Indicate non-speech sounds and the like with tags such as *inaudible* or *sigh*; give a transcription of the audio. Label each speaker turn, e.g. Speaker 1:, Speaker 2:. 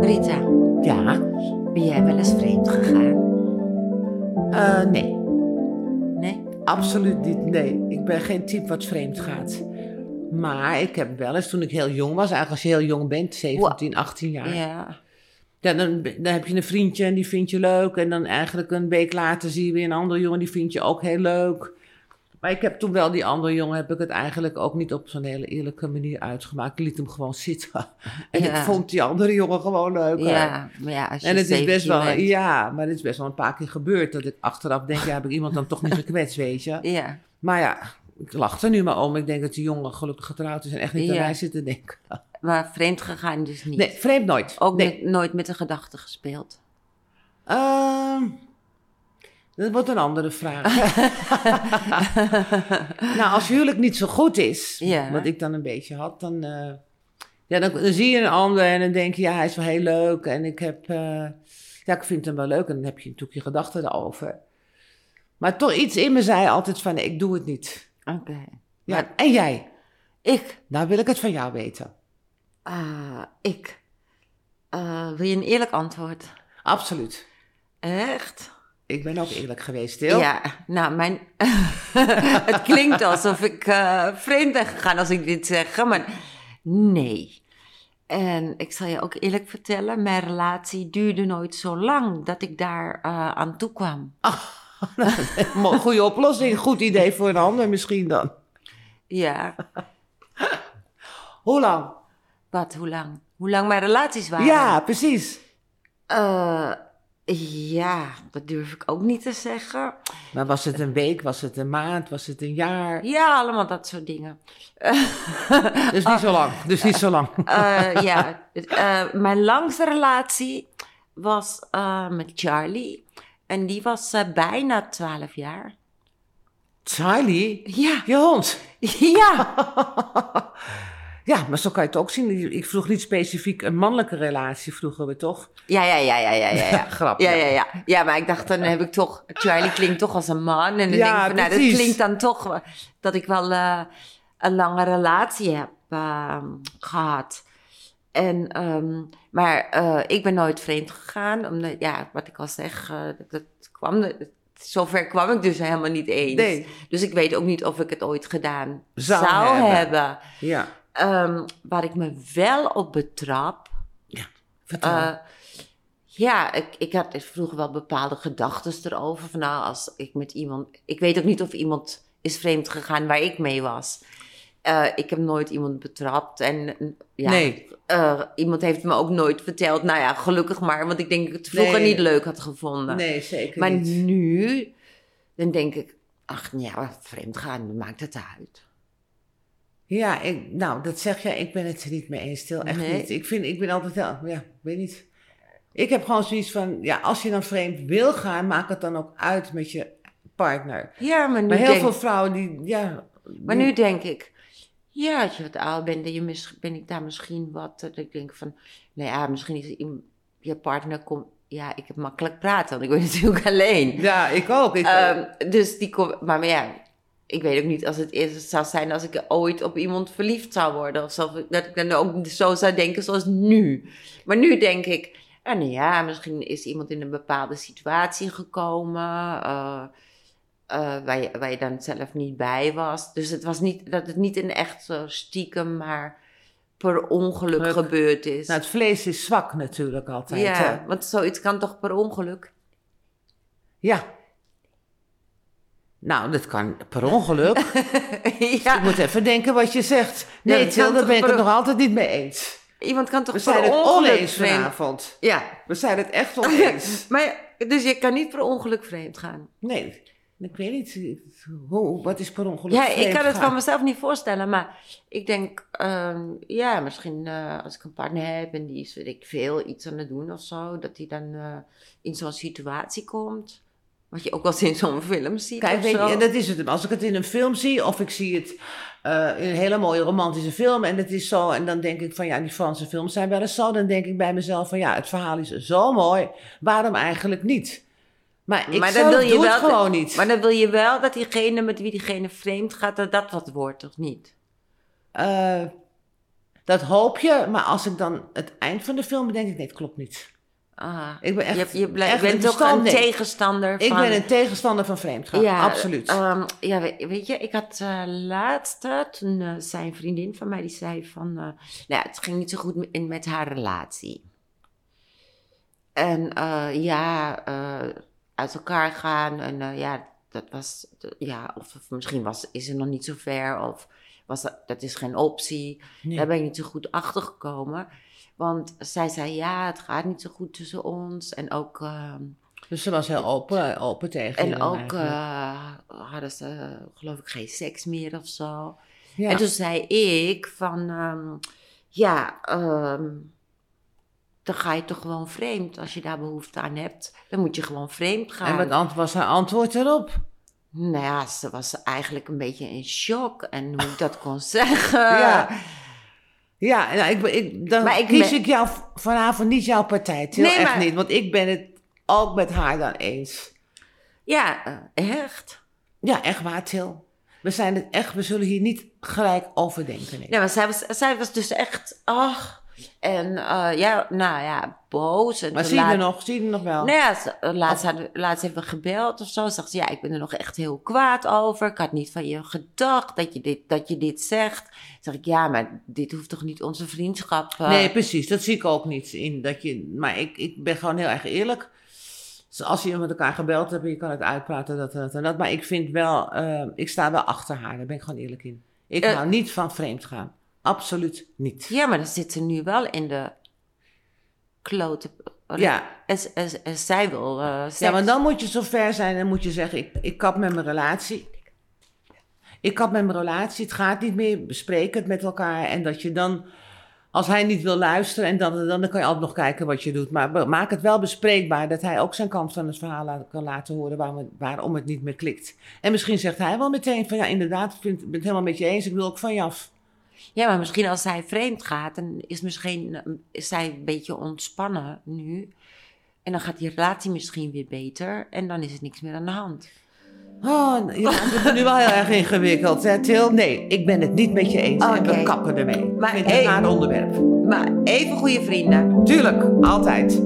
Speaker 1: Rita,
Speaker 2: Ja,
Speaker 1: ben jij wel eens vreemd gegaan?
Speaker 2: eh, nee.
Speaker 1: Nee?
Speaker 2: Absoluut niet, nee. Ik ben geen type wat vreemd gaat. Maar ik heb wel eens, toen ik heel jong was, eigenlijk als je heel jong bent, 17, 18 jaar.
Speaker 1: Ja.
Speaker 2: Ja, dan, dan heb je een vriendje en die vind je leuk. En dan eigenlijk een week later zie je weer een andere jongen, die vind je ook heel leuk. Maar ik heb toen wel die andere jongen, heb ik het eigenlijk ook niet op zo'n hele eerlijke manier uitgemaakt. Ik liet hem gewoon zitten. *laughs* En
Speaker 1: Ja.
Speaker 2: ik vond die andere jongen gewoon leuk.
Speaker 1: Ja, maar ja, als je
Speaker 2: En het is
Speaker 1: 17
Speaker 2: best wel,
Speaker 1: bent.
Speaker 2: ja, maar het is best wel een paar keer gebeurd dat ik achteraf denk, ja, heb ik iemand dan toch niet gekwetst, weet je.
Speaker 1: *laughs* Ja.
Speaker 2: Maar ja, ik lach er nu maar om. Ik denk dat die jongen gelukkig getrouwd is en echt niet aan
Speaker 1: Ja.
Speaker 2: mij zit te denken.
Speaker 1: maar vreemd gegaan dus niet.
Speaker 2: Nee, vreemd nooit.
Speaker 1: Ook
Speaker 2: nee.
Speaker 1: met- nooit met de gedachte gespeeld.
Speaker 2: Ehm, dat wordt een andere vraag. *laughs* nou, als huwelijk niet zo goed is,
Speaker 1: Ja.
Speaker 2: wat ik dan een beetje had, dan, eh, ja, dan, dan zie je een ander en dan denk je, ja, hij is wel heel leuk en ik heb, eh, ja, ik vind hem wel leuk en dan heb je natuurlijk je gedachten erover. Maar toch iets in me zei altijd van, nee, ik doe het niet.
Speaker 1: Oké.
Speaker 2: Ja,
Speaker 1: Maar-
Speaker 2: en jij?
Speaker 1: Ik,
Speaker 2: Nou wil ik het van jou weten.
Speaker 1: ah, ik. Eh, wil je een eerlijk antwoord?
Speaker 2: Absoluut.
Speaker 1: Echt?
Speaker 2: Ik ben ook eerlijk geweest, Til.
Speaker 1: Ja, nou, mijn... *laughs* het klinkt alsof ik eh, vreemd ben gegaan als ik dit zeg, maar nee. En ik zal je ook eerlijk vertellen, mijn relatie duurde nooit zo lang dat ik daar eh, aan toe kwam.
Speaker 2: Mo- Goede oplossing, goed idee voor een ander misschien dan.
Speaker 1: Ja,
Speaker 2: Hoe lang?
Speaker 1: wat, hoe lang? Hoe lang mijn relaties waren?
Speaker 2: Ja, precies.
Speaker 1: Eh, ja, dat durf ik ook niet te zeggen.
Speaker 2: Maar was het een week, was het een maand, was het een jaar?
Speaker 1: Ja, allemaal dat soort dingen.
Speaker 2: Dus niet zo lang. Dus niet zo lang.
Speaker 1: Eh, ja, eh, mijn langste relatie was eh, met Charlie. En die was eh, bijna 12 jaar.
Speaker 2: Charlie,
Speaker 1: Ja,
Speaker 2: je hond.
Speaker 1: ja.
Speaker 2: Ja, maar zo kan je het ook zien. Ik vroeg niet specifiek een mannelijke relatie, vroegen we toch?
Speaker 1: Ja, ja, ja, ja, ja, ja.
Speaker 2: *laughs*
Speaker 1: ja.
Speaker 2: Grap.
Speaker 1: Ja, ja, ja. Ja, maar ik dacht, dan heb ik toch... Charlie klinkt toch als een man. En dan
Speaker 2: Ja,
Speaker 1: denk ik van, nou, dat
Speaker 2: precies.
Speaker 1: klinkt dan toch... wel- dat ik wel eh, een lange relatie heb ehm, gehad. En, ehm, maar eh, ik ben nooit vreemd gegaan. Omdat, ja, wat ik al zeg, eh, dat, dat kwam... dat- zover kwam ik dus helemaal niet eens.
Speaker 2: Nee.
Speaker 1: Dus ik weet ook niet of ik het ooit gedaan zou,
Speaker 2: Zou hebben.
Speaker 1: hebben.
Speaker 2: Ja.
Speaker 1: Ehm, waar ik me wel op betrap...
Speaker 2: Vertel.
Speaker 1: Eh, ja, ik, ik had vroeger wel bepaalde gedachten erover. Van nou, als ik met iemand. Ik weet ook niet of iemand is vreemd gegaan waar ik mee was. Eh, ik heb nooit iemand betrapt. En eh, ja,
Speaker 2: nee.
Speaker 1: eh, iemand heeft me ook nooit verteld. Nou ja, gelukkig maar, want ik denk dat ik het vroeger
Speaker 2: Nee.
Speaker 1: niet leuk had gevonden.
Speaker 2: Nee, zeker
Speaker 1: maar
Speaker 2: niet.
Speaker 1: nu, dan denk ik, ach ja, vreemd gaan, maakt het uit.
Speaker 2: Ja, ik, nou, dat zeg jij. Ik ben het er niet mee eens. Stil, echt
Speaker 1: Nee.
Speaker 2: niet. Ik, vind, ik ben altijd wel... Ja, ik weet niet. Ik heb gewoon zoiets van... Ja, als je dan vreemd wil gaan, maak het dan ook uit met je partner.
Speaker 1: Ja, maar nu
Speaker 2: Maar heel
Speaker 1: denk
Speaker 2: veel vrouwen die... Ja,
Speaker 1: Maar
Speaker 2: die-
Speaker 1: nu denk ik, ja, als je wat ouder bent, dan je mis- ben ik daar misschien wat. eh, Dat ik denk van, nou ja, misschien is iem- je partner komt. Ja, ik heb makkelijk praten, want ik ben *laughs* natuurlijk alleen.
Speaker 2: Ja, ik ook. Ik, eh,
Speaker 1: Ehm, dus die komt. Maar, maar ja, ik weet ook niet als het eerst zou zijn als ik ooit op iemand verliefd zou worden. Of zo, dat ik dan ook zo zou denken zoals nu. Maar nu denk ik, ah, nou ja, misschien is iemand in een bepaalde situatie gekomen. eh, eh, waar, je, waar je dan zelf niet bij was. Dus het was niet dat het niet een echt zo stiekem, maar per ongeluk
Speaker 2: Geluk.
Speaker 1: gebeurd is.
Speaker 2: nou, het vlees is zwak natuurlijk altijd.
Speaker 1: ja,
Speaker 2: hè.
Speaker 1: want zoiets kan toch per ongeluk? *laughs*
Speaker 2: ja. Nou, dat kan per
Speaker 1: *laughs*
Speaker 2: ongeluk.
Speaker 1: ja.
Speaker 2: Je moet even denken wat je zegt. Nee,
Speaker 1: dat
Speaker 2: Til,
Speaker 1: kan
Speaker 2: daar ben ik
Speaker 1: toch
Speaker 2: het
Speaker 1: per-
Speaker 2: nog altijd niet mee eens.
Speaker 1: Iemand kan toch
Speaker 2: We
Speaker 1: per
Speaker 2: zijn het
Speaker 1: ongeluk
Speaker 2: oneens
Speaker 1: vreemd-
Speaker 2: vanavond.
Speaker 1: Ja.
Speaker 2: We zijn het
Speaker 1: *laughs*
Speaker 2: echt oneens.
Speaker 1: Maar ja, dus je kan niet per ongeluk vreemd gaan.
Speaker 2: Nee, ik weet niet. Hoe, wat is per ongeluk
Speaker 1: Ja, ik
Speaker 2: vreemd
Speaker 1: kan het
Speaker 2: gaan?
Speaker 1: van mezelf niet voorstellen, maar ik denk, ehm, ja, misschien eh, als ik een partner heb en die is, weet ik veel, iets aan het doen of zo, dat die dan eh, in zo'n situatie komt. Wat je ook wel eens in zo'n film ziet.
Speaker 2: Kijk,
Speaker 1: of
Speaker 2: weet je,
Speaker 1: zo.
Speaker 2: en dat is het. hem. Als ik het in een film zie, of ik zie het eh, in een hele mooie romantische film en het is zo, en dan denk ik van ja, die Franse films zijn wel eens zo, dan denk ik bij mezelf van ja, het verhaal is zo mooi, waarom eigenlijk niet? Maar ik
Speaker 1: Maar dan
Speaker 2: zelf
Speaker 1: wil je
Speaker 2: doe het
Speaker 1: wel-
Speaker 2: gewoon niet.
Speaker 1: Maar dan wil je wel dat diegene met wie diegene vreemd gaat, dat dat wat wordt, toch niet?
Speaker 2: Eh, Dat hoop je, maar als ik dan het eind van de film denk ik, nee, het klopt niet.
Speaker 1: Ah.
Speaker 2: Ik ben echt,
Speaker 1: je, je blij-
Speaker 2: echt een
Speaker 1: bent ook een
Speaker 2: verstandig.
Speaker 1: tegenstander
Speaker 2: Ik
Speaker 1: van...
Speaker 2: ben een tegenstander van vreemdgaan, absoluut.
Speaker 1: ehm, ja, we- weet je, ik had eh, laatst, eh, toen eh, zei een vriendin van mij, die zei van, eh, nou ja, het ging niet zo goed me- in, met haar relatie. En eh, ja, eh, uit elkaar gaan en eh, ja, dat was, dat- ja, of, of misschien was, is ze nog niet zo ver of was dat, dat is geen optie.
Speaker 2: Nee.
Speaker 1: Daar ben ik niet zo goed achter gekomen. Want zij zei, ja, het gaat niet zo goed tussen ons. En ook, ehm,
Speaker 2: dus ze was heel open, open tegen je
Speaker 1: en
Speaker 2: dan
Speaker 1: ook
Speaker 2: eigenlijk.
Speaker 1: eh, hadden ze, eh, geloof ik, geen seks meer of zo.
Speaker 2: ja.
Speaker 1: En toen zei ik van, ehm, ja, ehm, dan ga je toch gewoon vreemd. Als je daar behoefte aan hebt, dan moet je gewoon vreemd gaan.
Speaker 2: en wat ant- was haar antwoord erop?
Speaker 1: Nou ja, ze was eigenlijk een beetje in shock en hoe ik dat kon *laughs* zeggen.
Speaker 2: ja. Ja, nou, ik, ben- ik, dan
Speaker 1: Maar ik
Speaker 2: kies
Speaker 1: ben-
Speaker 2: ik jou v- vanavond niet jouw partij. Til,
Speaker 1: Nee,
Speaker 2: echt
Speaker 1: maar-
Speaker 2: niet. Want ik ben het ook met haar dan eens.
Speaker 1: Ja, eh, echt.
Speaker 2: Ja, echt waar, Til. We zijn het echt, we zullen hier niet gelijk over denken. nee.
Speaker 1: Nee, maar zij was, zij was dus echt, ach. En eh, ja, nou ja, boos. En
Speaker 2: maar
Speaker 1: toen
Speaker 2: zie je
Speaker 1: laat-
Speaker 2: er nog, zie je er nog wel.
Speaker 1: Nou ja, ze- eh, laatst, hadden, we- laatst hebben we gebeld of zo. Ze Zegt ze, ja, ik ben er nog echt heel kwaad over. Ik had niet van je gedacht dat je dit, dat je dit zegt. Zeg ik, ja, maar dit hoeft toch niet onze vriendschap... eh,
Speaker 2: Nee, precies. Dat zie ik ook niet in. Dat je, maar ik, ik ben gewoon heel erg eerlijk. Dus als je met elkaar gebeld hebt, en je kan het uitpraten, dat en dat en dat. Maar ik vind wel, eh, ik sta wel achter haar. Daar ben ik gewoon eerlijk in. Ik
Speaker 1: Eh.
Speaker 2: hou niet van vreemd gaan. Absoluut niet.
Speaker 1: Ja, maar dan zit ze nu wel in de klote... eh,
Speaker 2: Ja.
Speaker 1: En, z- en, z- en zij wil eh seks.
Speaker 2: Ja, want dan moet je zo ver zijn en moet je zeggen, ik, ik kap met mijn relatie. Ik kap met mijn relatie, het gaat niet meer, bespreek het met elkaar. En dat je dan, als hij niet wil luisteren, en dan, dan kan je altijd nog kijken wat je doet. Maar be- maak het wel bespreekbaar, dat hij ook zijn kant van het verhaal la- kan laten horen waarom het, waarom het niet meer klikt. En misschien zegt hij wel meteen van, ja inderdaad, ik vind- ik ben het helemaal met je eens, ik wil ook van je af.
Speaker 1: Ja, maar misschien als zij vreemd gaat, dan is, misschien, eh, is zij een beetje ontspannen nu. En dan gaat die relatie misschien weer beter. En dan is er niks meer aan de hand.
Speaker 2: Oh, je maakt het nu wel heel erg ingewikkeld, hè Til? Nee, ik ben het niet met je eens en
Speaker 1: Oké.
Speaker 2: we kappen ermee.
Speaker 1: Maar
Speaker 2: ik vind het een
Speaker 1: één-
Speaker 2: raar onderwerp.
Speaker 1: Maar even goede vrienden.
Speaker 2: Tuurlijk, altijd.